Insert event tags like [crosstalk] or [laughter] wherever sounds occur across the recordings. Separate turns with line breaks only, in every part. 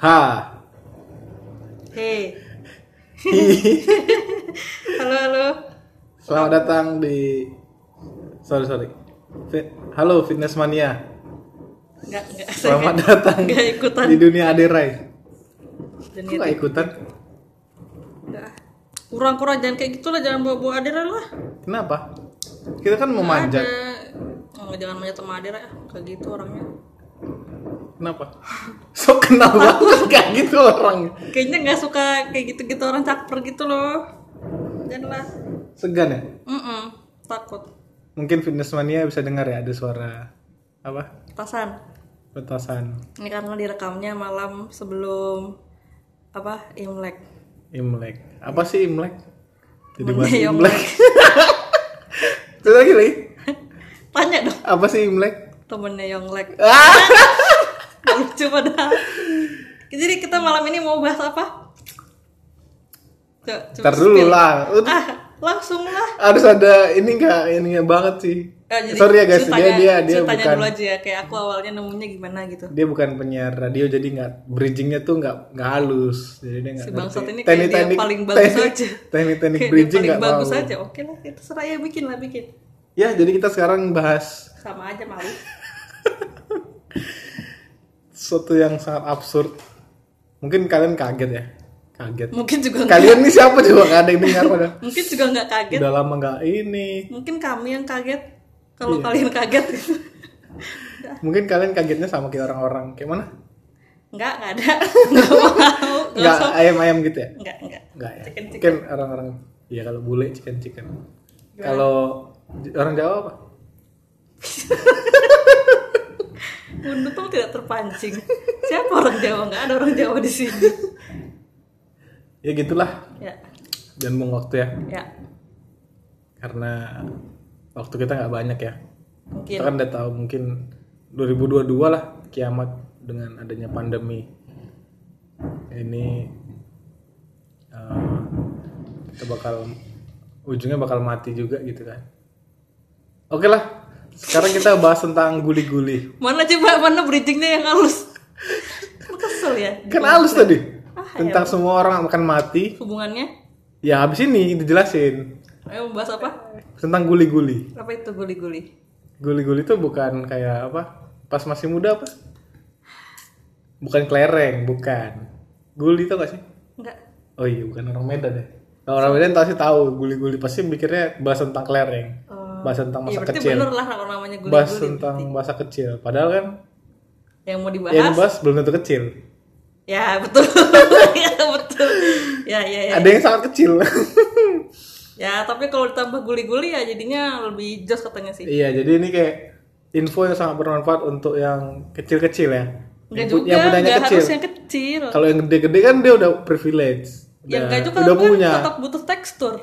H
Hei,
Hi.
[laughs] halo halo.
Selamat datang di Sorry sorry Fit- Halo Fitness Mania
Enggak enggak. saya
Selamat
nggak-
datang
nggak ikutan.
di dunia Aderai
Dan
Kok gak ikutan?
Kurang-kurang jangan kayak gitulah, jangan bawa-bawa Adira lah.
Kenapa? Kita kan mau
Ada.
manjat
Oh, jangan manja sama Adira, kayak gitu orangnya.
Kenapa? [laughs] Sok kenal banget [laughs] kayak gitu orang
Kayaknya nggak suka kayak gitu-gitu orang caper gitu loh. Janganlah.
Segan ya?
Mm takut.
Mungkin Fitness Mania bisa dengar ya ada suara Apa?
Petasan.
Petasan
Ini karena direkamnya malam sebelum apa Imlek.
Imlek Apa sih Imlek? Jadi
Mania
bahas Imlek
ya, Imlek.
[laughs] Terus lagi Li.
Tanya dong
Apa sih Imlek?
temennya
[laughs]
Yonglek.
Ah!
Gak [laughs] lucu padahal jadi kita malam ini mau bahas apa? Coba, coba
Ntar dulu
spill.
lah.
ah langsung lah
Harus ada ini enggak ininya banget sih.
Eh, jadi
Sorry ya guys, dia
cuy tanya-
dia dia
cuy tanya
bukan
dulu aja ya kayak aku awalnya nemunya gimana gitu
dia bukan penyiar radio jadi nggak bridgingnya tuh nggak nggak halus jadi dia nggak
Si bangsat
ngerti.
ini kayak dia
Teknik-teknik-
paling bagus
teknik-
aja.
teknik-teknik
Kayak dia
bridging
paling
nggak
bagus
tahu
aja oke lah itu seraya bikin lah bikin
ya jadi kita sekarang bahas
sama aja malu
sesuatu yang sangat absurd mungkin kalian kaget ya
[laughs]
kaget
mungkin juga nggak-
kalian nih siapa coba nggak ada yang dengar pada
mungkin juga nggak kaget
udah lama nggak ini
mungkin kami yang kaget kalau
Iya.
kalian kaget [laughs]
mungkin kalian kagetnya sama kayak orang-orang kayak mana
nggak nggak
[laughs]
ada nggak mau nggak
nggak ayam-ayam gitu ya
nggak nggak
Enggak ya.
Chicken,
Mungkin orang-orang ya kalau bule chicken chicken. Kalau J- orang Jawa apa?
Untung tidak terpancing. Siapa orang Jawa? Nggak ada orang Jawa di sini.
Ya gitulah.
Ya,
Jangan buang waktu ya.
ya,
Karena waktu kita nggak banyak ya. Kita
mungkin.
kan udah tahu mungkin 2022 lah kiamat dengan adanya pandemi. Ini eh, kita bakal ujungnya bakal mati juga gitu kan. Oke lah. Sekarang kita bahas tentang guli-guli.
Mana coba mana bridgingnya yang halus? Lu kesel ya?
Kan halus tadi.
Ah, ya.
Tentang semua orang akan mati
Hubungannya?
Ya habis ini dijelasin
Ayo membahas apa?
tentang guli-guli.
Apa itu guli-guli?
Guli-guli itu bukan kayak apa? Pas masih muda apa? Bukan kelereng, bukan. Guli itu gak sih?
Enggak.
Oh iya, bukan orang Medan ya. Kalau orang Medan pasti tahu guli-guli pasti mikirnya bahas tentang kelereng,
Oh.
bahas tentang
Iya
masa
berarti
kecil,
bener lah kalau namanya
bahas
guli-guli. gitu.
tentang masa kecil. Padahal kan
Yang mau dibahas?
yang dibahas belum tentu kecil.
Ya betul. [laughs] ya betul. Ya ya ya.
Ada yang sangat kecil. [laughs]
Ya tapi kalau ditambah guli-guli ya jadinya lebih jos katanya sih.
iya, jadi ini kayak info yang sangat bermanfaat untuk yang kecil-kecil ya.
Enggak
Yang pu-
juga,
yang punyanya
enggak
kecil.
harus yang kecil.
Kalau yang gede-gede kan dia udah privilege.
yang
Udah-
enggak juga
udah
kan
punya.
tetap butuh tekstur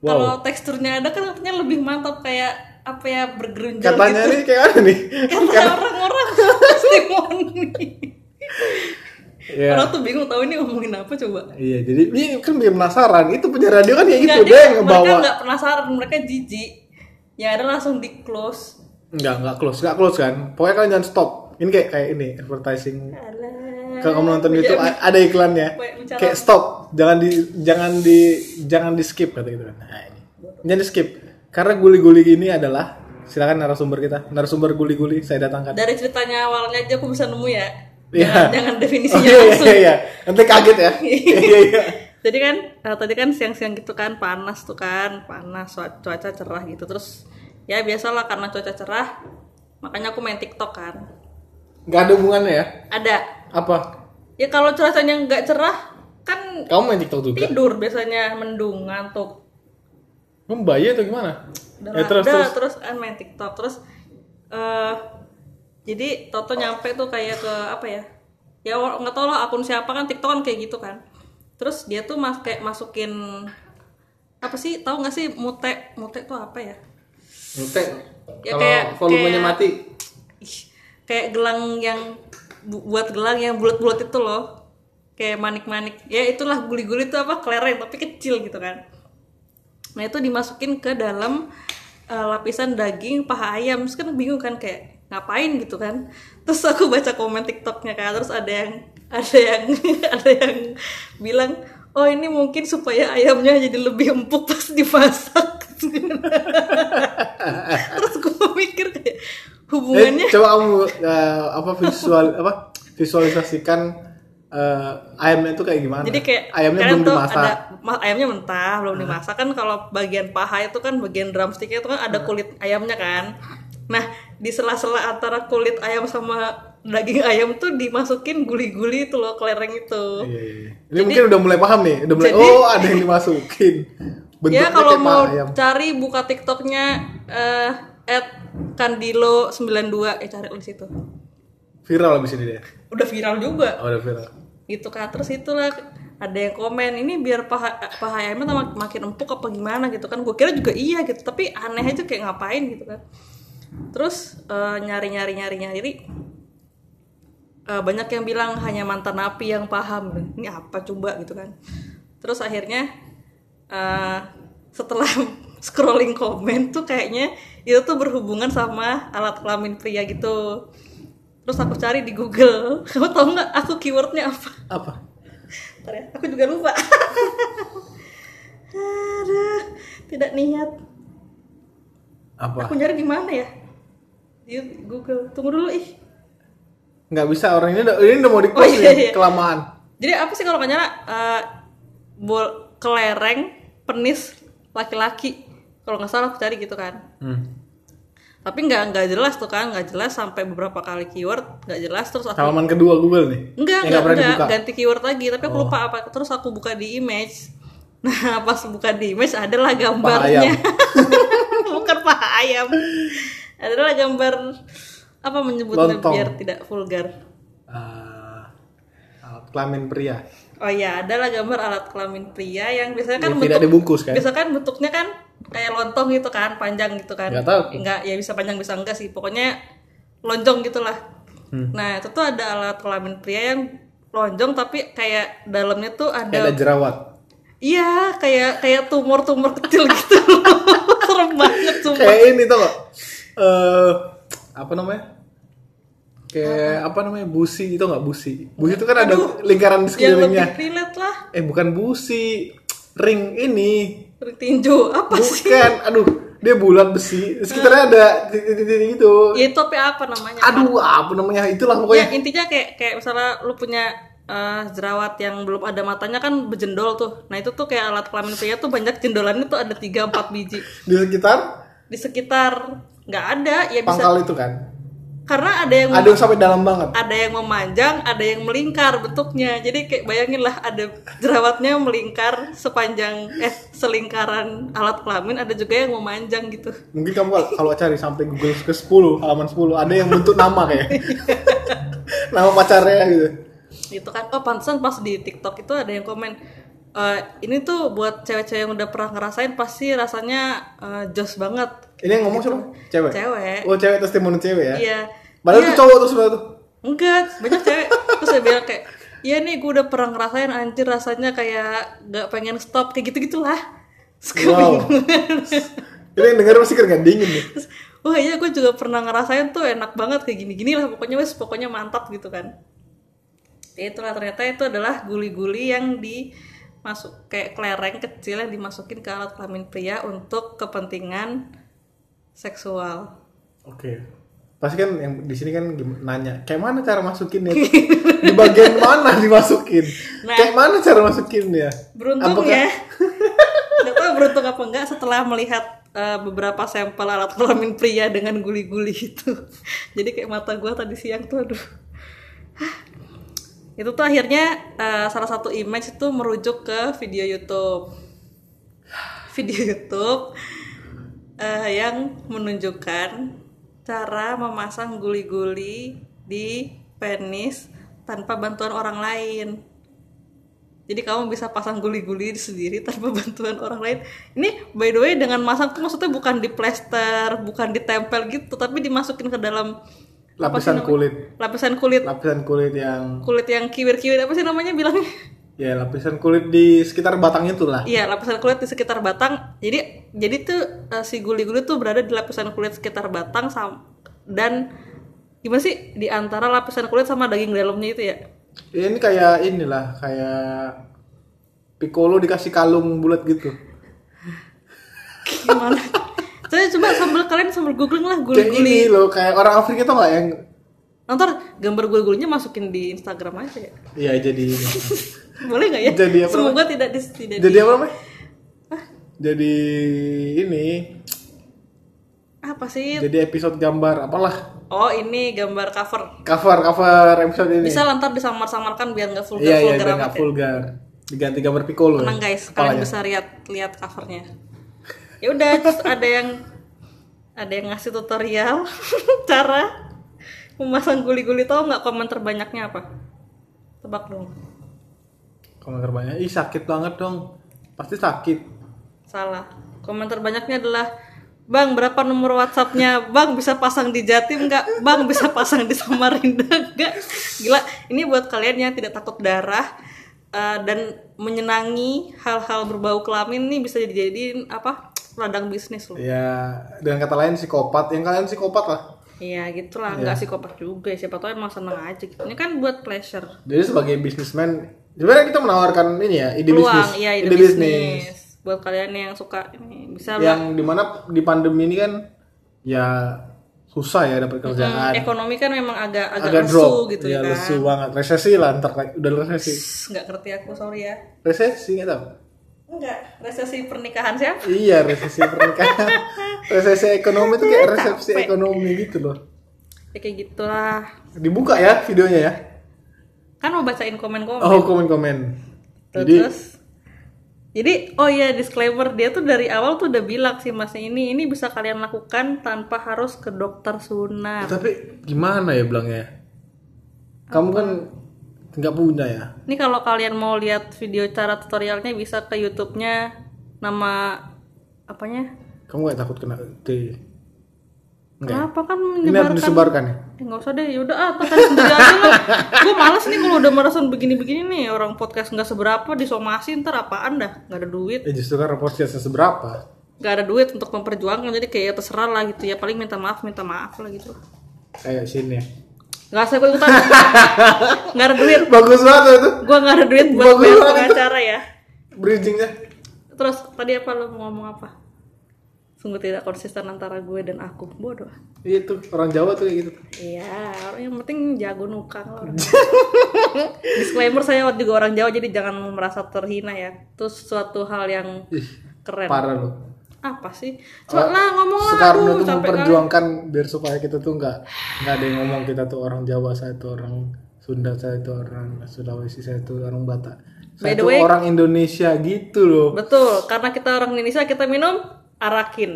Wow.
kalau teksturnya ada kan artinya lebih mantap kayak apa ya bergerunjal
Katanya
gitu
nih kayak mana nih?
[laughs] kata orang-orang
[laughs]
testimoni
Iya.
orang tuh bingung tahu ini ngomongin apa coba
Iya, jadi ini kan bikin penasaran. Itu punya radio kan kayak gitu deh
Nggak, dia-
yang
mereka
ngebawa.
nggak penasaran mereka jijik ya ada langsung di close
Enggak, enggak close, enggak close kan. Pokoknya kalian jangan stop. Ini kayak kayak ini advertising.
Alah.
Kalau kamu nonton YouTube
iya.
a- ada iklannya.
Kayak bicara.
Kayak stop, jangan di jangan di jangan di skip kata gitu. Nah, ini. Jangan di skip. Karena guli-guli ini adalah silakan narasumber kita. Narasumber guli-guli saya datangkan.
dari ceritanya awalnya aja aku bisa nemu ya
Iya.
jangan, jangan
[laughs] Oh,
definisinya
iya,
langsung
iya, iya. Nanti kaget
[laughs]
ya. Iya, iya, iya.
Jadi kan eh, tadi kan siang-siang gitu kan panas tuh kan panas cua- cuaca cerah gitu terus ya biasalah karena cuaca cerah makanya aku main TikTok kan
Gak ada hubungannya ya?
ada
Apa?
ya kalau cuacanya nggak cerah kan
Kamu main TikTok juga?
tidur biasanya mendung ngantuk
Kamu bayi atau gimana?
udah
ya
lah,
terus
udah
terus.
lah, terus kan main TikTok terus eh jadi Toto nyampe tuh kayak ke apa ya ya wa- nggak tau lah akun siapa kan TikTok kan kayak gitu kan terus dia tuh mas kayak masukin apa sih tahu nggak sih mute mute tuh apa ya
Mutek.
Ya, kayak- kayak-
mati.
Ih, kayak gelang yang bu- buat gelang yang bulat-bulat itu loh kayak manik-manik ya itulah guli-guli itu apa kelereng tapi kecil gitu kan nah itu dimasukin ke dalam eh, lapisan daging paha ayam [laughs] terus kan bingung kan kayak ngapain gitu kan terus aku baca komen tiktoknya kan terus ada yang [laughs] ada yang ada yang bilang oh ini mungkin supaya ayamnya jadi lebih empuk pas dimasak [laughs] terus gue mikir kayak hubungannya
Eh, coba kamu eh, apa visual apa visualisasikan eh, ayamnya itu kayak gimana?
Jadi kayak
ayamnya
kadang
belum
tuh
dimasak.
Ada, ma- ayamnya mentah, belum dimasak kan kalau bagian paha itu kan bagian drumsticknya itu kan ada kulit ayamnya kan. Nah, di sela-sela antara kulit ayam sama daging ayam tuh dimasukin guli-guli itu loh kelereng itu. Ya,
Iya, iya, iya. Ini mungkin udah mulai paham nih, udah mulai
jadi-
oh ada yang dimasukin. Bentuknya
ya kalau
kayak
mau
ayam.
cari buka TikToknya eh at Kandilo 92 eh cari di situ.
Viral abis ini deh.
Udah viral juga.
Oh, udah viral.
gitu kan terus itulah ada yang komen ini biar paha paha ayamnya tam- makin empuk apa gimana gitu kan gue kira juga iya gitu tapi aneh aja kayak ngapain gitu kan terus eh, nyari nyari nyari nyari Eh, banyak yang bilang hanya mantan api yang paham ini apa coba gitu kan terus akhirnya eh, setelah [laughs] scrolling komen tuh kayaknya itu tuh berhubungan sama alat kelamin pria gitu terus aku cari di Google [laughs] kamu tau nggak aku keywordnya apa
Apa?
Bentar ya, aku juga lupa. [laughs] Aduh, tidak niat.
Apa?
Aku nyari di mana ya? Di Google. Tunggu dulu ih.
Nggak bisa orang ini udah, ini udah mau di
Oh, iya,
nih,
iya.
kelamaan.
Jadi apa sih kalau nggak nyala? Eh, bol kelereng penis laki-laki. Kalau nggak salah aku cari gitu kan.
Hmm.
Tapi nggak nggak jelas tuh kan, nggak jelas sampai beberapa kali keyword nggak jelas terus aku
Halaman kedua Google nih.
Enggak,
Yang
enggak,
pernah
enggak.
dibuka. Oh.
ganti keyword lagi, tapi aku lupa apa. Terus aku buka di image. [laughs] Nah, pas buka di image adalah gambarnya. [laughs] Bukan paha ayam. Adalah gambar apa menyebutnya
Lontong.
biar tidak vulgar.
Ah, alat kelamin pria.
Oh iya, adalah gambar alat kelamin pria yang biasanya kan
Yang tidak dibungkus kan?
Biasanya kan bentuknya kan kayak lontong gitu kan, panjang gitu kan.
Nggak tahu.
Nggak, ya bisa panjang bisa enggak sih. Pokoknya lonjong gitulah.
Hmm.
Nah, itu tuh ada alat kelamin pria yang lonjong tapi kayak dalamnya tuh
Kayak ada
ada
jerawat.
Iya, kayak kayak tumor-tumor kecil [laughs] gitu loh. Serem banget sumpah.
Kayak ini tau gak? Eh, apa namanya? Kayak apa namanya? Busi itu nggak busi. Busi itu kan ada lingkaran di
Yang lebih
sekelilingnya.
relate lah.
Eh bukan busi, ring ini.
Ring tinju apa sih?
Bukan, aduh, dia bulat besi. Di Sekitarnya ada titik-titik gitu.
Ya, itu apa, apa namanya?
Aduh, apa namanya? Itulah
Ya,
pokoknya.
intinya kayak kayak misalnya lu punya eh, jerawat yang belum ada matanya kan berjendol tuh. Nah, itu tuh kayak alat kelamin pria tuh banyak jendolannya tuh ada 3 4 biji.
Di sekitar
Di sekitar nggak ada, ya bisa
pangkal itu kan.
karena ada yang
Ada yang sampai dalam banget.
ada yang memanjang, ada yang melingkar bentuknya. Jadi kayak bayangin lah ada jerawatnya melingkar sepanjang eh selingkaran alat kelamin, ada juga yang memanjang gitu.
Mungkin kamu kalau- kalau cari sampai Google ke 10, halaman 10 ada yang bentuk nama
[laughs]
kayak. nama pacarnya gitu.
Gitu kan. Oh, pantesan pas di TikTok itu ada yang komen "Eh, ini tuh buat cewek-cewek yang udah pernah ngerasain pasti rasanya eh, jos banget.
Ini yang ngomong siapa? Cewek.
Cewek.
Oh, cewek testimoni cewek ya.
Iya.
Padahal
Iya.
itu cowok tuh sebenarnya
[laughs]
tuh.
Enggak, banyak cewek. Terus saya bilang kayak, iya nih gue udah pernah ngerasain anjir rasanya kayak gak pengen stop, kayak gitu-gitulah. Terus gue
Wow.
bingung.
Ini yang denger pasti keringat dingin nih.
Terus, wah iya gue juga pernah ngerasain tuh enak banget kayak gini-gini lah. Pokoknya wes, pokoknya mantap gitu kan. Ya itulah ternyata itu adalah guli-guli yang dimasuk kayak kelereng kecil yang dimasukin ke alat kelamin pria untuk kepentingan seksual.
Oke. Pasti kan yang di sini kan gim- nanya, kayak mana cara masukin itu? [laughs] di bagian mana dimasukin?
Nah.
kayak mana cara masukin ya?
Beruntung
Apakah-
ya. [laughs] Gak tahu beruntung apa enggak setelah melihat eh, beberapa sampel alat kelamin pria dengan guli-guli itu. [laughs] Jadi kayak mata gua tadi siang tuh aduh. Hah. Itu tuh akhirnya eh, salah satu image itu merujuk ke video YouTube. Video [laughs] YouTube eh, yang menunjukkan cara memasang guli-guli di penis tanpa bantuan orang lain. Jadi kamu bisa pasang guli-guli sendiri tanpa [laughs] bantuan orang lain. Ini by the way dengan masang tuh maksudnya bukan di plester, bukan ditempel gitu, tapi dimasukin ke dalam apa sih
Lapisan
namanya?
kulit.
Lapisan kulit,
Lapisan kulit yang
kulit yang kiwir-kiwir apa sih namanya bilangnya?
ya lapisan kulit di sekitar batang itulah.
Iya, lapisan kulit di sekitar batang. Jadi jadi tuh eh, si guli-guli tuh berada di lapisan kulit sekitar batang sam- dan gimana sih di antara lapisan kulit sama daging dalamnya itu ya?
Ya, ini kayak inilah kayak Piccolo dikasih kalung bulat gitu. [laughs]
Gimana? Saya coba sambil kalian sambil googling lah
Kayak
guli-guli.
ini loh kayak orang Afrika tau nggak yang
Ntar gambar guli-gulinya masukin di Instagram aja ya.
ya jadi ini.
Boleh nggak ya?
Jadi apa
Semoga tidak di tidak
jadi
di-
apa namanya? Jadi ini
apa sih?
jadi episode gambar apalah
Oh, ini gambar cover.
cover cover episode ini.
Bisa lantar disamar-samarkan biar nggak vulgar
Iya iya
vulgar
biar
amat
nggak
ya.
vulgar. Diganti gambar Piccolo.
Tenang
ya.
guys, kalian
Kepalanya.
bisa lihat lihat covernya. Ya udah terus ada yang ada yang ngasih tutorial [laughs] cara memasang guli-guli tau nggak komen terbanyaknya apa? Tebak dong.
Kalau terbanya, ih sakit banget dong. Pasti sakit.
Salah. Komen terbanyaknya adalah Bang, berapa nomor WhatsApp-nya? Bang, bisa pasang di Jatim nggak? Bang, bisa pasang di Samarinda nggak? Gila, ini buat kalian yang tidak takut darah eh, dan menyenangi hal-hal berbau kelamin nih bisa dijadiin apa? Ladang bisnis loh.
Ya dengan kata lain psikopat. Yang kalian psikopat lah.
Iya, gitulah. Nggak psikopat juga. ya. Siapa tahu emang seneng aja. gitu. Ini kan buat pleasure.
Jadi sebagai businessman sebenarnya kita menawarkan ini ya ide bisnis,
Peluang, iya, ide, bisnis. Buat kalian yang suka ini bisa lah.
yang dimana di pandemi ini kan ya susah ya dapat kerjaan,
ekonomi kan memang agak
agak
agak, lesu
drop,
gitu
ya
kan.
lesu banget, resesi lah ntar kayak- udah resesi,
Psst, nggak ngerti aku sorry ya
resesi nggak tahu?
enggak resesi pernikahan siapa
Iya resesi
[laughs]
pernikahan, resesi ekonomi itu kayak resepsi ekonomi gitu loh.
ya kayak gitulah
Dibuka ya videonya ya?
kan mau bacain komen komen
Oh komen-komen. Jadi
terus jadi oh iya disclaimer dia tuh dari awal tuh udah bilang sih masnya ini ini bisa kalian lakukan tanpa harus ke dokter sunar
eh, tapi gimana ya bilangnya? Kamu kan nggak punya ya?
ini kalau kalian mau lihat video cara tutorialnya bisa ke YouTube-nya nama apanya
Kamu gak takut kena T? Enggak.
kenapa kan
Ini harus
menyebarkan
disebarkan ya?
Eh, nggak usah deh, yaudah ah, tonton sendiri aja lah. Gue males nih kalau udah merasakan begini-begini nih orang podcast nggak seberapa disomasi ntar apaan dah, nggak ada duit,
Eh justru kan reportnya seberapa?
nggak ada duit untuk memperjuangkan jadi kayak terserah lah gitu ya paling minta maaf minta maaf lah gitu.
Kayak sini ya. [laughs]
Nggak usah gue ikutan, nggak ada duit,
Bagus banget tuh itu
gue nggak ada duit buat
Bagus
bayar
banget.
pengacara ya.
bridgingnya.
Terus tadi apa lo mau ngomong apa? Sungguh tidak konsisten antara gue dan aku, bodoh.
Itu orang Jawa tuh kayak gitu.
Iya, orang yang penting jago nukang lah. [laughs] orang. Disclaimer saya juga orang Jawa jadi jangan merasa terhina ya. Itu suatu hal yang
Ih,
keren.
parah loh.
Apa sih? Coba lah ngomong lah.
Soekarno
aduh,
tuh
capek kali.
memperjuangkan biar supaya kita tuh nggak nggak ada yang ngomong kita tuh orang Jawa saya tuh orang Sunda saya tuh orang Sulawesi saya tuh orang Batak.
By
Saya
the
tuh
way-
orang Indonesia gitu loh.
Betul, karena kita orang Indonesia kita minum arakin.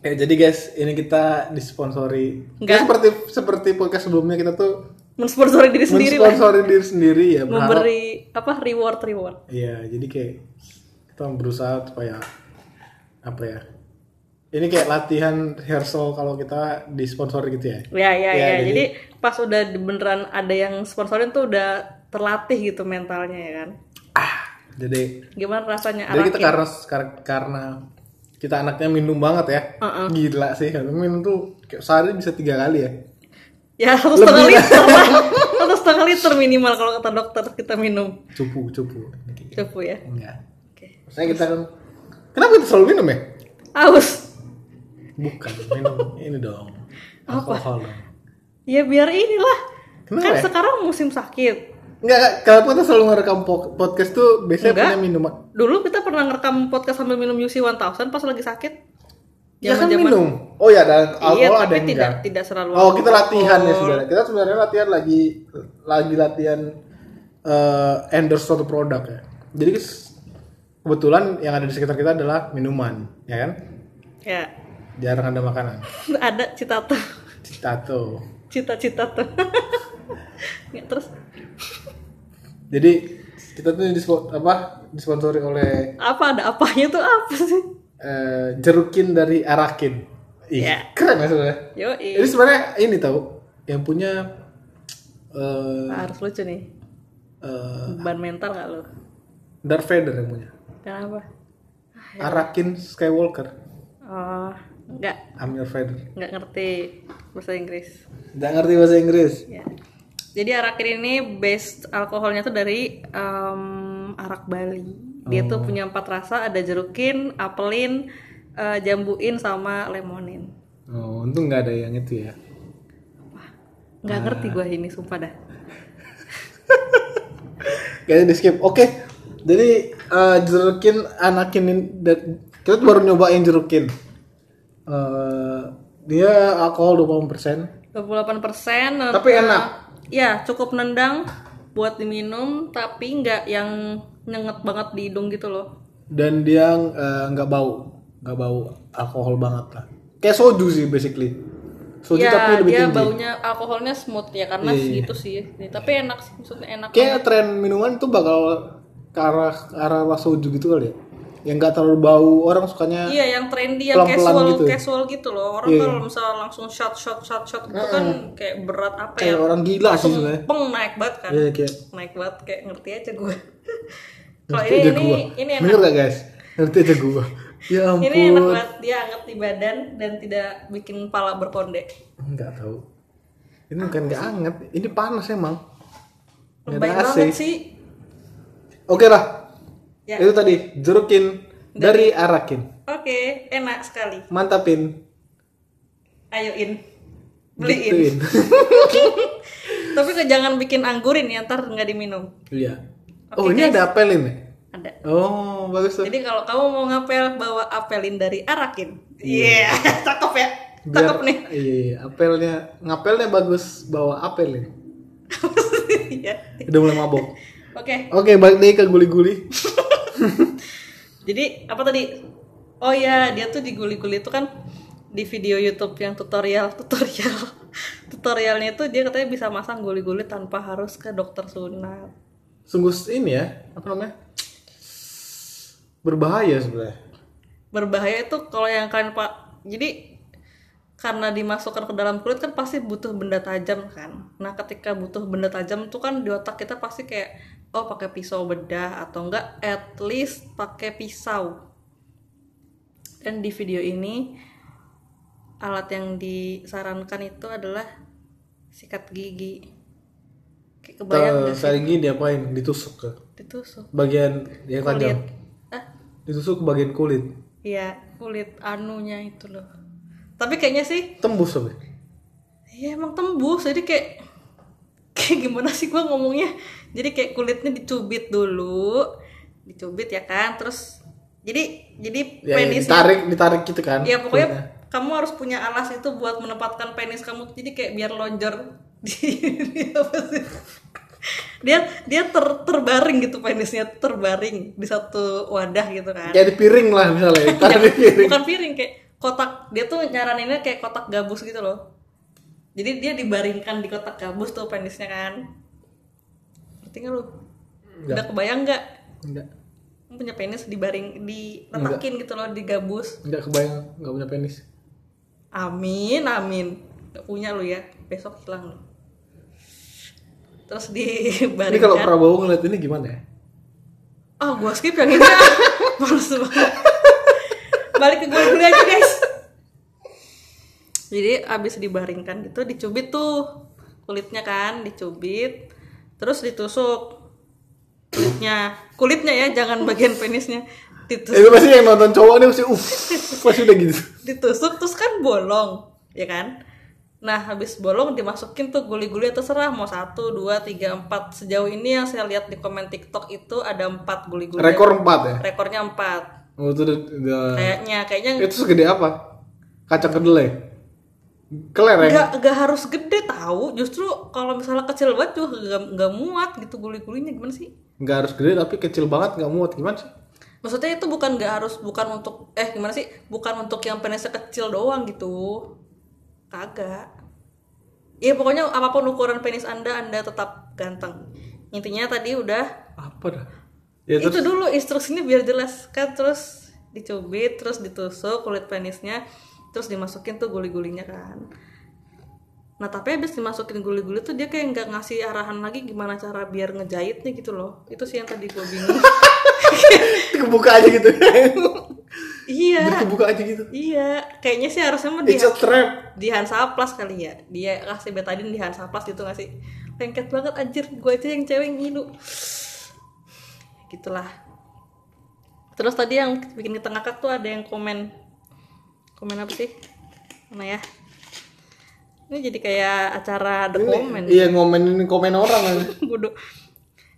Ya, jadi guys, ini kita disponsori.
Nggak.
Ya, seperti seperti podcast sebelumnya kita tuh
Mensponsori diri sendiri lah.
mensponsori diri sendiri ya berharap
Memberi apa reward reward.
Iya, jadi kayak kita berusaha supaya apa ya? Ini kayak latihan rehearsal kalau kita disponsori gitu ya.
Ya ya
Ya,
ya. Jadi,
jadi-
pas udah beneran ada yang sponsorin tuh udah terlatih gitu mentalnya ya kan.
Jadi
Gimana rasanya
jadi
arakin?
kita karena kar- karena kita anaknya minum banget ya. Gila sih, minum tuh kayak sehari bisa tiga kali ya.
Ya satu
[laughs]
setengah liter lah. Satu setengah liter minimal kalau kata dokter kita minum
Cupu, cupu. Ini kayak gitu.
cukup ya.
Enggak.
Oke.
Maksudnya kita kan Kenapa kita selalu minum ya?
Aus.
Bukan minum [laughs] ini dong. Alkohol dong.
Ya biar inilah.
Kenapa
kan
ya?
sekarang musim sakit.
Enggak, enggak. kalau kita selalu ngerekam po- podcast tuh biasanya
Enggak.
punya minuman.
Dulu kita pernah ngerekam podcast sambil minum UC 1000 pas lagi sakit.
Ya kan
Zaman-zaman-
minum. Oh ya, ada alkohol
Iya,
ada
tapi
yang
tidak
enggak.
tidak selalu.
Oh, kita
alkohol.
latihan ya sebenarnya. Kita sebenarnya latihan lagi lagi latihan eh, endorse suatu produk ya. Jadi kes- kebetulan yang ada di sekitar kita adalah minuman, ya kan?
Ya. [laughs]
Jarang ada makanan.
Ada cita tuh.
Citato.
Cita-cita tuh. [laughs] ya, terus
Jadi kita tuh dispo- apa disponsori oleh
apa ada apanya tuh apa sih?
eh, jerukin dari Arakin. Ih,
Ya.
keren ya sebenarnya.
Yo,
Ini sebenarnya ini tahu yang punya eh
harus lucu nih.
eh,
Ban mental gak lo?
Darth Vader yang punya.
Kenapa?
Arakin Skywalker.
Oh, nggak
I'm your father.
nggak ngerti bahasa Inggris.
Nggak ngerti bahasa Inggris.
Ya. Jadi arak ini base alkoholnya tuh dari em, arak Bali. Dia
Oh.
tuh punya empat rasa, ada jerukin, apelin, eh, jambuin sama lemonin.
Oh, untung nggak ada yang itu ya.
Ah.
Nggak ngerti gua ini, sumpah dah.
Kayaknya di skip. Oke. Jadi eh, jerukin anakinin dan kita tuh baru nyobain jerukin. Eh, dia alkohol 20%.
28% eh,
Tapi enak.
Ya, cukup nendang buat diminum, tapi nggak yang nyenget banget di hidung gitu loh.
dan dia eh, nggak bau nggak bau alkohol banget lah kayak soju sih basically soju
ya,
tapi lebih
dia
tinggi Iya,
baunya alkoholnya smooth ya karena segitu sih. Ini, tapi enak sih, maksudnya enak.
kayak tren minuman tuh bakal ke arah ke arah arah soju gitu kali ya yang nggak terlalu bau orang sukanya
Iya, yang trendy yang
Pelan-pelan
casual
gitu ya? Iya,
casual gitu loh. Orang kalau misalnya langsung shot shot shot shot gitu kan kayak berat apa ya?
kayak orang gila sih sebenarnya
Peng naik banget kan.
Iya, kayak
Naik banget kayak ngerti aja gue. [laughs] kalau
ngerti
ini
aja
ini
gua
ini enak.
bener gak guys ngerti aja gua ya ampun
Ini enak banget dia anget di badan dan tidak bikin pala berkonde.
nggak tahu ini bukan nggak anget ini panas emang Nggak
Baik
ada AC. Eh.
banget sih.
oke lah
Ya.
itu tadi jerukin dari arakin
Oke, enak sekali.
mantapin
Ayoin. Beliin. [laughs]
Gituin.
Tapi ke- jangan bikin anggurin ya, ntar nggak diminum.
Iya. oh ini ada apelin ya?
Ada.
Oh bagus tuh.
Jadi kalau kamu mau ngapel, bawa apelin dari Arakin. Iya, [laughs] cakep ya. Cakep nih. [laughs]
Iya, iya, apelnya ngapelnya bagus bawa apelin.
Iya.
Udah mulai mabok.
Oke.
Oke balik lagi ke guli-guli.
Jadi apa tadi? Oh ya, dia tuh diguli-guli itu kan di video YouTube yang tutorial tutorial [laughs] tutorialnya itu dia katanya bisa masang guli-guli tanpa harus ke dokter sunat.
Sungguh ini ya apa namanya? Berbahaya sebenarnya.
Berbahaya itu kalau yang kalian pak. Jadi karena dimasukkan ke dalam kulit kan pasti butuh benda tajam kan. Nah ketika butuh benda tajam tuh kan di otak kita pasti kayak oh pakai pisau bedah atau enggak at least pakai pisau. Dan di video ini alat yang disarankan itu adalah sikat gigi. Kayak kebayang
Ter- Sering gini diapain? Ditusuk ke
ditusuk
bagian yang
kulit.
tajam.
Ah,
Ditusuk ke bagian kulit.
iya kulit anunya itu loh. Tapi kayaknya sih
Tembus tapi.
Iya emang tembus jadi kayak [laughs] kayak gimana sih gua ngomongnya jadi kayak kulitnya dicubit dulu dicubit ya kan terus jadi jadi
Ya, ya,
penis
ditarik, ditarik gitu kan.
ya pokoknya
kulitnya.
kamu harus punya alas itu buat menempatkan penis kamu jadi kayak biar lonjor [laughs] di di apa sih? dia dia ter, terbaring gitu penisnya terbaring di satu wadah gitu kan
Kayak Ya, di piring lah
[laughs]
misalnya. Ditarik di piring.
bukan piring kayak kotak dia tuh nyaraninnya kayak kotak gabus gitu loh jadi dia dibaringkan di kotak gabus tuh penisnya kan ngerti nggak lu udah kebayang nggak
Enggak,
Lu punya penis dibaring diletakin gitu loh di gabus
enggak kebayang, enggak punya penis.
amin amin nggak punya lu ya besok hilang lu terus
Ini kalau
dibaringkan
Prabowo ngeliat ini gimana ya?
oh gua skip yang ini [laughs] ah. males banget balik ke gue dulu aja guys jadi abis dibaringkan gitu dicubit tuh kulitnya kan dicubit terus ditusuk kulitnya kulitnya ya jangan bagian penisnya ditusuk
Itu pasti yang nonton cowok ini pasti uff,
[laughs]
pasti udah gitu.
ditusuk terus kan bolong ya kan nah habis bolong dimasukin tuh guli-guli terserah mau satu dua tiga empat sejauh ini yang saya lihat di komen TikTok itu ada empat guli-guli
Rekor 4 ya.
rekornya empat
Oh, itu udah, udah-
kayaknya kayaknya
itu segede apa? Kacang kedelai. Kelereng.
nggak nggak harus gede tahu justru kalau misalnya kecil banget juga nggak nggak muat gitu guli-gulinya gimana sih
Enggak harus gede tapi kecil banget enggak muat gimana sih?
maksudnya itu bukan nggak harus bukan untuk eh gimana sih bukan untuk yang penisnya kecil doang gitu kagak ya pokoknya apapun ukuran penis anda anda tetap ganteng intinya tadi udah
Apa dah? Ya
itu dulu instruksinya biar jelas kan terus dicubit terus ditusuk kulit penisnya terus dimasukin tuh guli-gulinya kan nah tapi abis dimasukin guli-guli tuh dia kayak nggak ngasih arahan lagi gimana cara biar ngejahitnya gitu loh itu sih yang tadi gue bingung
kebuka aja gitu.
[laughs] iya
Jadi kebuka aja gitu.
Iya, kayaknya sih harusnya mah di,
It's a trap.
di Hansa Plus kali ya. Dia kasih betadine di Hansa Plus gitu nggak sih? lengket banget anjir gue aja yang cewek yang ngilu gitulah terus tadi yang bikin kita ngakak tuh ada yang komen komen apa sih mana ya ini jadi kayak acara the comment
Iya ngomenin komen orang kan.
[laughs] bodoh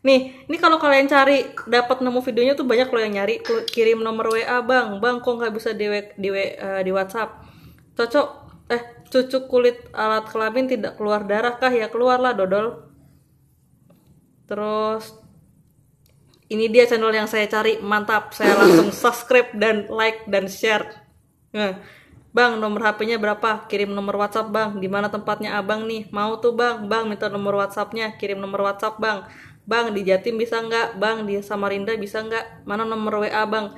nih ini kalau kalian cari dapat nemu videonya tuh banyak loh yang nyari Lu kirim nomor wa bang bang kok nggak bisa di W- di, W- eh, di whatsapp cocok eh cucuk kulit alat kelamin tidak keluar darah kah ya keluarlah dodol terus ini dia channel yang saya cari mantap saya langsung subscribe dan like dan share Nah, bang nomor HP-nya berapa kirim nomor WhatsApp bang di mana tempatnya abang nih mau tuh bang bang minta nomor WhatsApp-nya kirim nomor WhatsApp bang bang di Jatim bisa nggak bang di Samarinda bisa nggak mana nomor WA bang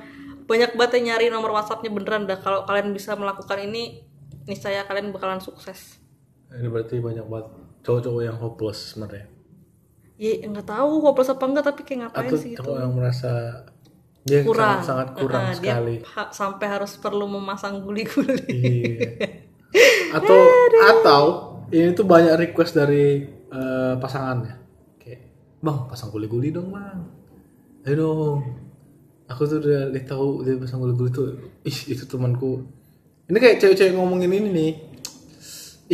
banyak banget yang nyari nomor WhatsApp-nya beneran dah kalau kalian bisa melakukan ini niscaya kalian bakalan sukses
Nah, Ini berarti banyak banget cowok-cowok yang hopeless sebenarnya.
ya nggak tahu hopeless apa enggak tapi kayak ngapain
Atau
sih gitu.
cowok yang merasa dia
kurang
sangat, sangat kurang
Nah, dia
sekali.
ha- sampai harus perlu memasang guli-guli
Iya. Atau atau ini tuh banyak request dari eh, pasangannya. Kayak, "Bang, pasang guli-guli dong, Bang." Ayo dong. Aku tuh udah lihat tahu dia pasang guli-guli tuh. Ih, itu temanku. Ini kayak cewek-cewek ngomongin ini nih.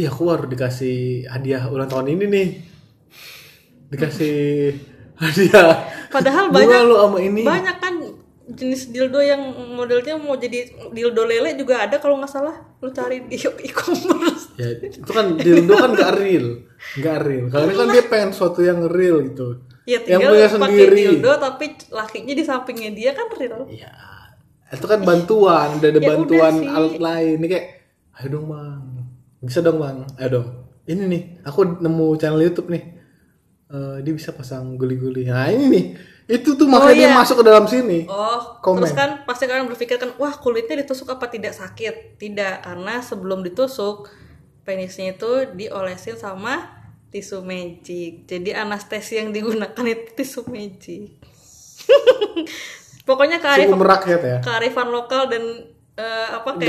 Iya, aku baru dikasih hadiah ulang tahun ini nih. Dikasih hadiah.
padahal
Bunga
banyak
lu sama ini.
banyak kan jenis dildo yang modelnya mau jadi dildo lele juga ada kalau nggak salah lu cari di e-commerce
ya itu kan dildo kan gak real gak real kalau ini kan dia pengen sesuatu yang real gitu
ya
yang
tinggal
punya
pakai
sendiri
dildo tapi lakinya di sampingnya dia kan real
ya itu kan bantuan udah ada
Ya udah
bantuan
sih.
alat lain ini kayak ayo dong bang bisa dong bang ayo dong ini nih aku nemu channel YouTube nih Eh, dia bisa pasang guli-guli nah ini nih itu tuh makanya
iya.
dia masuk ke dalam sini
Oh,
Komen.
terus kan pasti kalian berpikir kan, wah kulitnya ditusuk apa tidak sakit? Tidak, karena sebelum ditusuk penisnya itu diolesin sama tisu magic. Jadi anestesi yang digunakan itu tisu magic. [laughs] Pokoknya
cukup
kearifan,
merakyat ya
kearifan lokal dan eh, apa kayak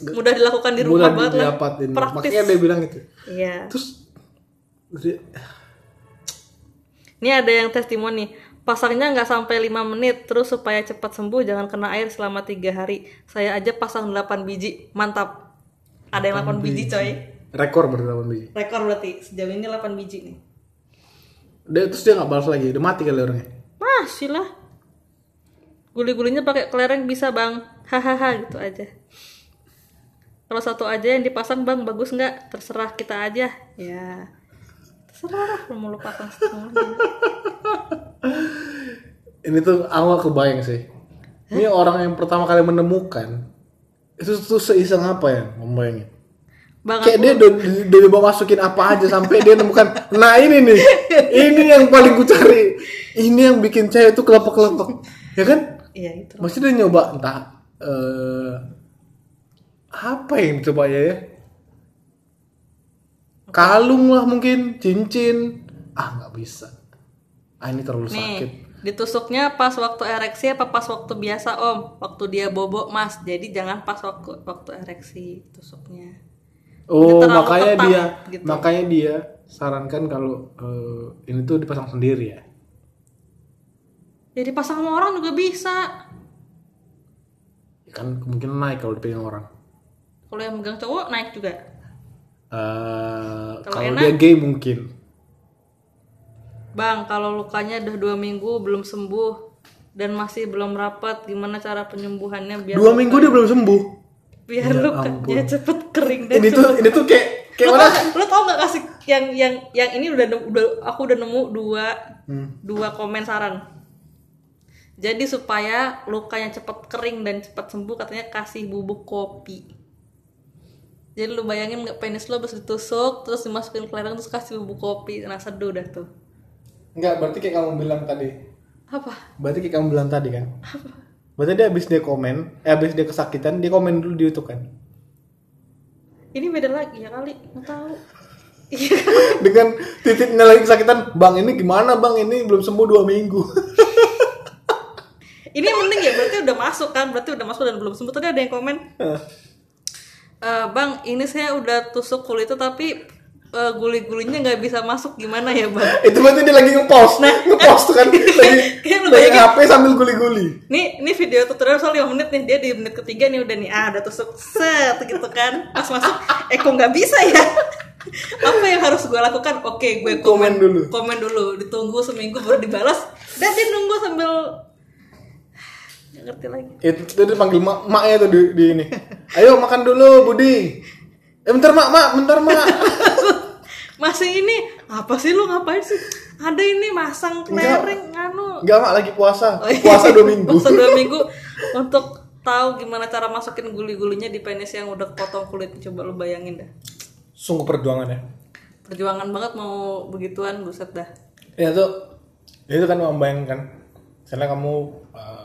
Gam-
mudah dilakukan di rumah
mudah
banget lah.
didapatin
Praktis.
makanya dia bilang itu
Iya.
terus dia-
Ini ada yang testimoni. Pasangnya nggak sampai 5 menit, terus supaya cepat sembuh jangan kena air selama tiga hari. Saya aja pasang 8 biji, mantap. Ada yang 8 biji coy.
rekor berapa biji
Rekor berarti sejauh ini 8 biji nih.
dia terus dia nggak balas lagi udah mati kali orangnya
Masih lah. Guli-gulinya pakai kelereng bisa bang, hahaha gitu aja. Kalau satu aja yang dipasang bang bagus nggak? Terserah kita aja. Ya, terserah lah mau lu [laughs] pasang setengahnya.
ini tuh awal kebayang sih ini orang yang pertama kali menemukan itu tuh seiseng apa ya membayangin
Bang,
kayak dia udah udah dibawa masukin apa aja sampai dia nemukan nah ini nih ini yang paling gue cari ini yang bikin cewek tuh kelopak kelopak ya kan
iya itu.
maksudnya dia nyoba entah eh, apa yang coba ya ya? kalung lah mungkin cincin ah nggak bisa ah ini terlalu sakit
Nih, ditusuknya pas waktu ereksi apa pas waktu biasa om? Waktu dia bobo mas, jadi jangan pas waktu waktu ereksi tusuknya. Dia
Oh,
terlalu
makanya
ketat,
dia
gitu.
makanya dia sarankan kalau eh, ini tuh dipasang sendiri ya.
Jadi pasang sama orang juga bisa.
Ya Kan kemungkinan naik kalau dipegang orang.
Kalau yang megang cowok naik juga.
Eh,
Kalau
kalau
enak?
dia gay mungkin.
Bang, kalau lukanya udah dua minggu belum sembuh dan masih belum rapat, gimana cara penyembuhannya biar
Dua minggu dia belum sembuh.
biar lukanya cepet kering dan
Ini tuh ini tuh kayak kayak
lo
orang
tau, lo tau gak kasih yang yang yang ini udah nemu- udah aku udah nemu dua
Hmm.
dua komen saran jadi supaya lukanya cepat kering dan cepat sembuh katanya kasih bubuk kopi jadi lu bayangin nggak penis lo terus ditusuk terus dimasukin kelereng terus kasih bubuk kopi nah seduh dah tuh
enggak berarti kayak kamu bilang tadi.
apa
Berarti kayak kamu bilang tadi kan. Berarti dia habis dia komen, eh habis dia kesakitan, dia komen dulu di YouTube kan. [laughs]
ini beda lagi ya kali nggak tahu Iya.
Dengan titiknya lagi kesakitan, "Bang, ini gimana, Bang? Ini belum sembuh dua minggu." [laughs]
ini mending ya berarti udah masuk kan berarti udah masuk dan belum sembuh tadi ada yang komen Eh, bang, ini saya udah tusuk kulitnya tapi eh, guli-gulinya nggak bisa masuk gimana ya bang?
itu berarti dia lagi ngepost nah, ngepost tuh kan lagi
[laughs] Kayak lu
lagi
bayangin.
HP sambil guli-guli
Nih, ini video tutorial soal 5 menit nih. Dia di menit ketiga nih udah nih. Ah, udah tusuk set gitu kan. Pas masuk, eh kok nggak bisa ya? [laughs] Apa yang harus gue lakukan? Oke, gue
Komen dulu.
Komen dulu, ditunggu seminggu baru dibalas. Dan dia nunggu sambil nggak ngerti lagi.
itu tadi panggil mak maknya tuh di, di
[laughs]
ini ayo makan dulu Budi eh bentar mak mak bentar
[laughs]
mak
Masih ini apa sih lu ngapain sih? Ada ini masang
Enggak.
kelereng anu.
enggak mak lagi puasa
Oh,
[laughs]
iya.
puasa dua minggu
Puasa dua minggu untuk tahu gimana cara masukin guli-gulinya di penis yang udah potong kulit. Coba lu bayangin dah.
sungguh perjuangan ya
perjuangan banget mau begituan buset dah
ya tuh ya itu kan membayangkan misalnya kamu eh,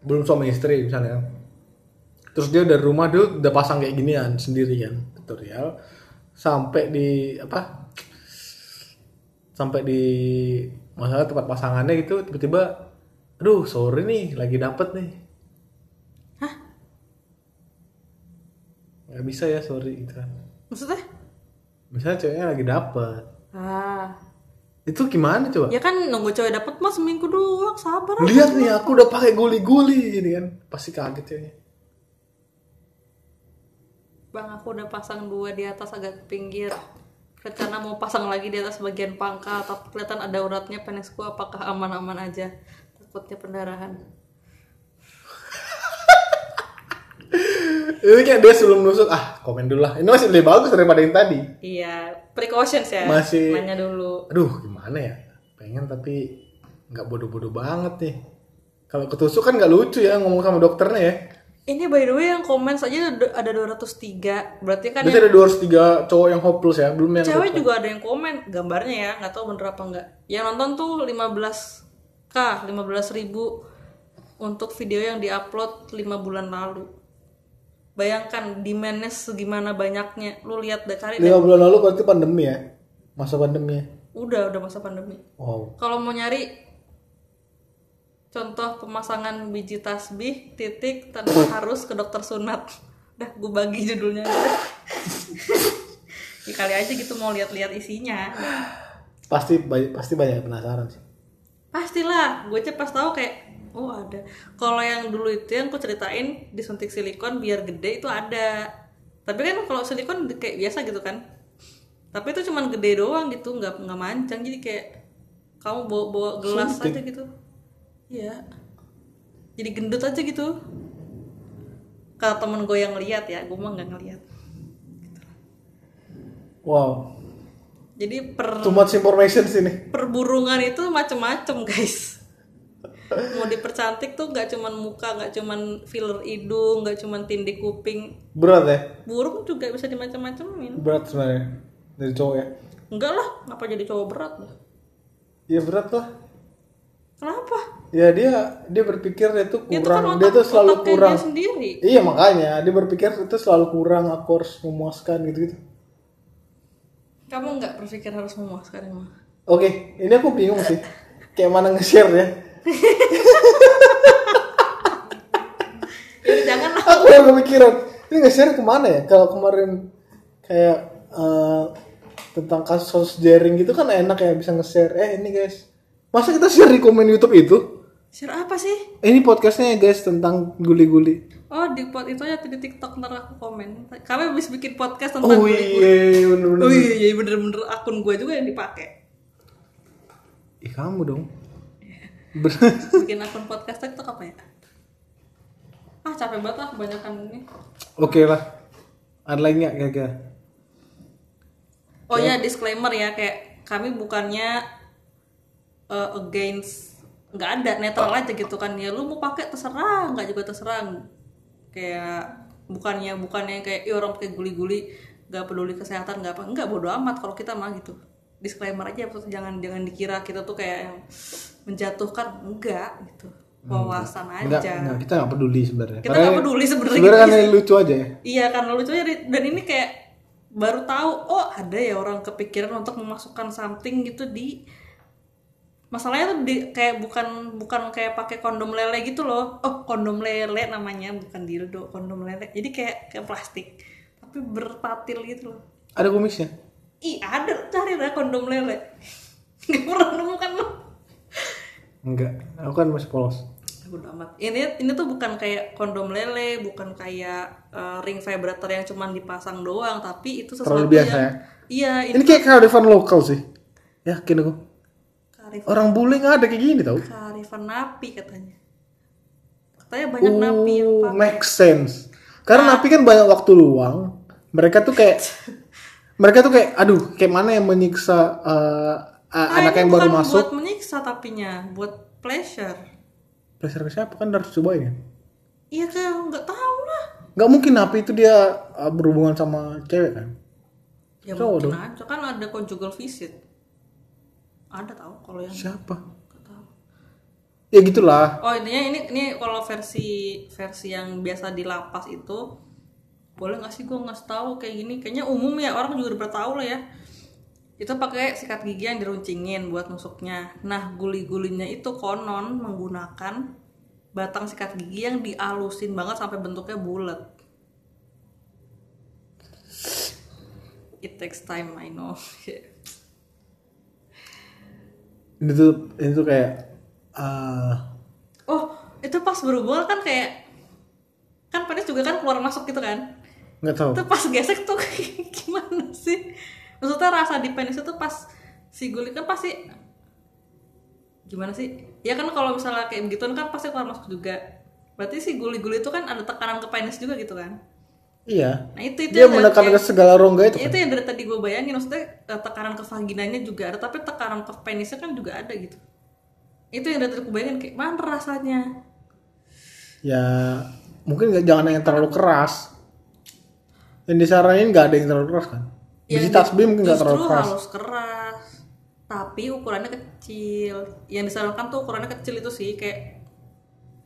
belum suami istri misalnya terus dia dari rumah dia udah pasang kayak ginian sendirian tutorial sampai di apa sampai di masalah tempat pasangannya gitu tiba-tiba aduh sore nih lagi dapet nih hah nggak bisa ya sorry gitu kan
maksudnya
misalnya ceweknya lagi dapet
ah
itu gimana coba
ya kan nunggu cowok dapet mas seminggu doang sabar lah.
lihat nih aku udah pakai guli-guli gini kan pasti kaget ceweknya
bang aku udah pasang dua di atas agak ke pinggir rencana mau pasang lagi di atas bagian pangkal tapi kelihatan ada uratnya penisku apakah aman-aman aja takutnya pendarahan
itu kayak dia sebelum nusuk ah komen dulu lah ini masih lebih bagus daripada yang tadi
iya precautions ya
Masih-
nanya dulu
aduh gimana ya pengen tapi nggak bodoh-bodoh banget nih kalau ketusuk kan nggak lucu ya ngomong sama dokternya ya
ini by the way yang komen saja ada ada 203 berarti kan
berarti
yang-
ada 203 cowok yang hopeless ya belum yang
cewek juga ada yang komen gambarnya ya nggak tahu bener apa enggak yang nonton tuh 15k 15.000 ribu untuk video yang diupload 5 bulan lalu bayangkan demandnya segimana banyaknya lu lihat deh cari deh
lima bulan lalu berarti pandemi ya masa pandemi ya
udah udah masa pandemi
wow
kalau mau nyari contoh pemasangan biji tasbih titik tanpa harus ke dokter sunat udah gue bagi judulnya ya kali aja gitu mau lihat-lihat isinya
pasti ba- pasti banyak yang penasaran sih
pastilah gue aja pas tahu kayak oh ada kalau yang dulu itu yang aku ceritain disuntik silikon biar gede itu ada tapi kan kalau silikon di- kayak biasa gitu kan tapi itu cuman gede doang gitu nggak nggak mancang jadi kayak kamu bawa bawa gelas aja gitu iya jadi gendut aja gitu kalau temen gue yang lihat ya gue mah nggak ngeliat
wow
jadi per
too much information sini
perburungan itu macem-macem guys mau dipercantik tuh nggak cuman muka nggak cuman filler hidung nggak cuman tindih kuping
berat ya
burung juga bisa dimacem-macemin
berat sebenarnya dari cowok ya
enggak lah ngapa jadi cowok berat lah
ya berat lah
kenapa
ya dia dia berpikir dia tuh
itu
kurang dia tuh selalu
kan otaknya
kurang
dia sendiri
iya makanya dia berpikir itu selalu kurang aku harus memuaskan gitu gitu
kamu nggak berpikir harus memuaskan emang
oke ini aku bingung sih kayak mana nge-share ya
ya jangan lah
aku yang kepikiran ini nge-share kemana ya kalau kemarin kayak eh, tentang kasus kasus jaring gitu kan enak ya bisa nge-share eh ini guys masa kita share di komen YouTube itu
share apa sih
ini podcastnya ya guys tentang guli-guli
oh di pot itu aja di tiktok ntar aku komen kami habis bikin podcast tentang
oh
guli-guli.
iya bener-bener
oh iya iya bener-bener akun gue juga yang dipakai
Ih, kamu dong Ber-
bikin akun podcast TikTok apa ya? Ah capek banget lah kebanyakan ini.
Oke lah. Ada lain nggak kira-kira?
Oh ya disclaimer ya kayak kami bukannya uh, against nggak ada netral aja gitu kan ya lu mau pakai terserah nggak juga terserah kayak bukannya bukannya kayak "Ih, orang pakai guli-guli nggak peduli kesehatan nggak apa nggak bodo amat kalau kita mah gitu disclaimer aja maksudnya jangan jangan dikira kita tuh kayak yang menjatuhkan enggak gitu wawasan
Hmm. Nggak,
aja
nggak, kita nggak peduli sebenarnya.
kita
Karena-
nggak peduli sebenarnya
Sebenarnya kan ini lucu aja ya.
Iya karena lucunya di- dan ini kayak baru tahu oh ada ya orang kepikiran untuk memasukkan something gitu di masalahnya tuh di- kayak bukan bukan kayak pakai kondom lele gitu loh oh kondom lele namanya bukan dildo kondom lele jadi kayak kayak plastik tapi berpatil gitu loh
Ada kumisnya.
ih ada cari lah kondom lele [laughs] nggak pernah nemu kan lo
Enggak, aku kan masih polos.
Bodo amat. Ini ini tuh bukan kayak kondom lele, bukan kayak eh, ring vibrator yang cuman dipasang doang, tapi itu sesuatu
Terlalu biasa
yang
ya?
Iya, ini
Ini kayak kearifan lokal sih. Yakin aku.
karif-
Orang bule nggak ada kayak gini tau.
karifan napi katanya. Katanya banyak napi yang
Uh,
pakai. Nah.
make sense. Karena napi kan banyak waktu luang. Mereka tuh
[laughs]
kayak mereka tuh kayak aduh, kayak mana yang menyiksa eh, a-
Ah,
anak
ini
yang baru
bukan
masuk.
buat menyiksa tapinya, buat pleasure.
Pressure ke siapa kan harus cobain ya.
Iya kan, nggak tahu lah.
Nggak mungkin napi itu dia eh, berhubungan sama cewek kan.
Ya
Tahu
mungkin aja kan ada conjugal visit. Ada tahu kalau yang
Siapa?
nggak tahu.
Ya gitulah.
Oh intinya ini ini kalau versi versi yang biasa di lapas itu boleh nggak sih gue ngasih tahu kayak gini kayaknya umum ya orang juga udah tahu lah ya itu pakai sikat gigi yang diruncingin buat nusuknya nah guli-gulinya itu konon menggunakan batang sikat gigi yang dialusin banget sampai bentuknya bulat it takes time I know [laughs]
Ini tuh ini tuh kayak eh,
oh itu pas berhubungan kan kayak kan penis juga kan keluar masuk gitu kan
nggak tahu.
itu pas gesek tuh [laughs] gimana sih maksudnya rasa di penis itu pas si guling kan pasti gimana sih ya kan kalau misalnya kayak begitu kan pasti keluar masuk juga berarti si guli-guli itu kan ada tekanan ke penis juga gitu kan
Iya.
nah itu Iya. itu
Dia
yang-
menekan ke
yang-
segala rongga itu.
itu yang dari tadi gue bayangin maksudnya eh, tekanan ke vaginanya juga ada tapi tekanan ke penisnya kan juga ada gitu itu yang dari tadi gue bayangin kayak mana rasanya
Ya mungkin nggak jangan yang terlalu keras. Yang disaranin nggak ada yang terlalu keras kan. Biji
Yang
tasbih mungkin nggak terlalu
Ya, justru
keras.
harus keras tapi ukurannya kecil yang disarankan tuh ukurannya kecil itu sih kayak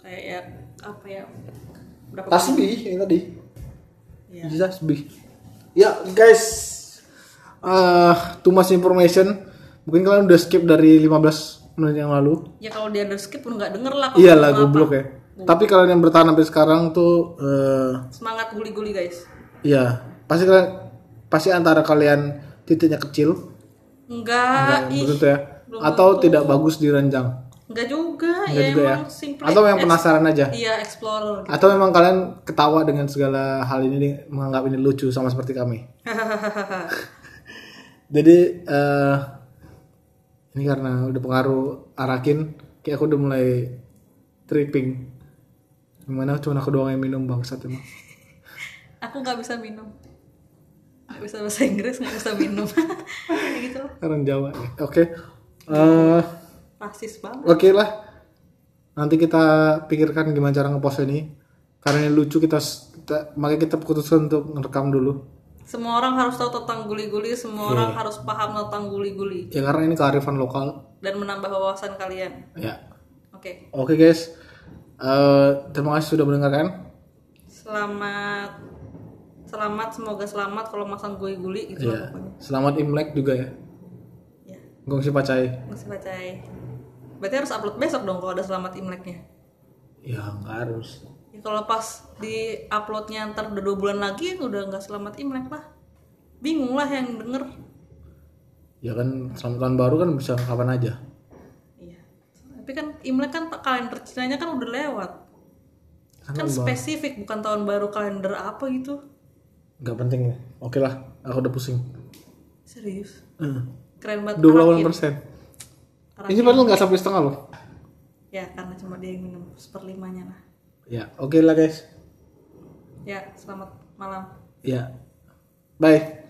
kayak ya, apa ya berapa
Tasbih yang tadi.
Iya.
Biji tasbih. Ya guys. ah too much information. Mungkin kalian udah skip dari 15 menit yang lalu.
ya kalau dia ada skip pun nggak denger lah kalau
Iyalah
ngomong
goblok
apa.
ya. Tapi kalian yang bertahan sampai sekarang tuh eh,
semangat guli-guli guys
Iya, pasti kalian pasti antara kalian titiknya kecil,
enggak ih
begitu ya, atau tidak bagus diranjang,
enggak juga
enggak
ya
juga ya,
emang simple
atau yang penasaran aja,
iya explorer gitu.
atau memang kalian ketawa dengan segala hal ini di- menganggap ini lucu sama seperti kami. Jadi eh ini karena udah pengaruh arakin, kayak aku udah mulai tripping. Gimana cuma aku doang yang minum bangsat emang.
[laughs] aku nggak bisa minum nggak bisa bahasa Inggris nggak bisa minum [laughs] Kayak gitu loh
Orang Jawa. ya. Oke. Eh
rasis banget
Oke lah. Nanti kita pikirkan gimana cara ngepost ini. Karena ini lucu kita, kita makanya kita putuskan untuk ngerekam dulu.
Semua orang harus tahu tentang guli-guli, semua orang harus paham tentang guli-guli
Ya karena ini kearifan lokal.
dan menambah wawasan kalian.
Ya.
Oke,
Oke guys. Eh, terima kasih sudah mendengarkan.
selamat, selamat, semoga selamat kalau masang guli-guli gitu
Ya.
lah pokoknya.
Selamat Imlek juga ya.
Ya,
Gongsi pacai.
masih bacai. Berarti harus upload besok dong kalau ada selamat imleknya.
Ya nggak harus.
Ya, kalau pas di uploadnya ntar udah dua bulan lagi udah nggak selamat imlek lah. Bingung lah yang denger.
Ya kan selamat tahun baru kan bisa kapan aja.
Iya. Tapi kan imlek kan kalender Cinanya kan udah lewat. Kan spesifik bukan tahun baru kalender apa gitu.
Nggak penting ya. Oke lah. Aku udah pusing.
Serius?
Eh,
Keren banget.
28
Arakin.
persen.
Arakin.
Ini padahal nggak sampai setengah loh.
Ya, karena cuma dia yang minum seperlimanya lah.
Ya. Oke lah guys.
Ya, selamat malam.
Ya. Bye.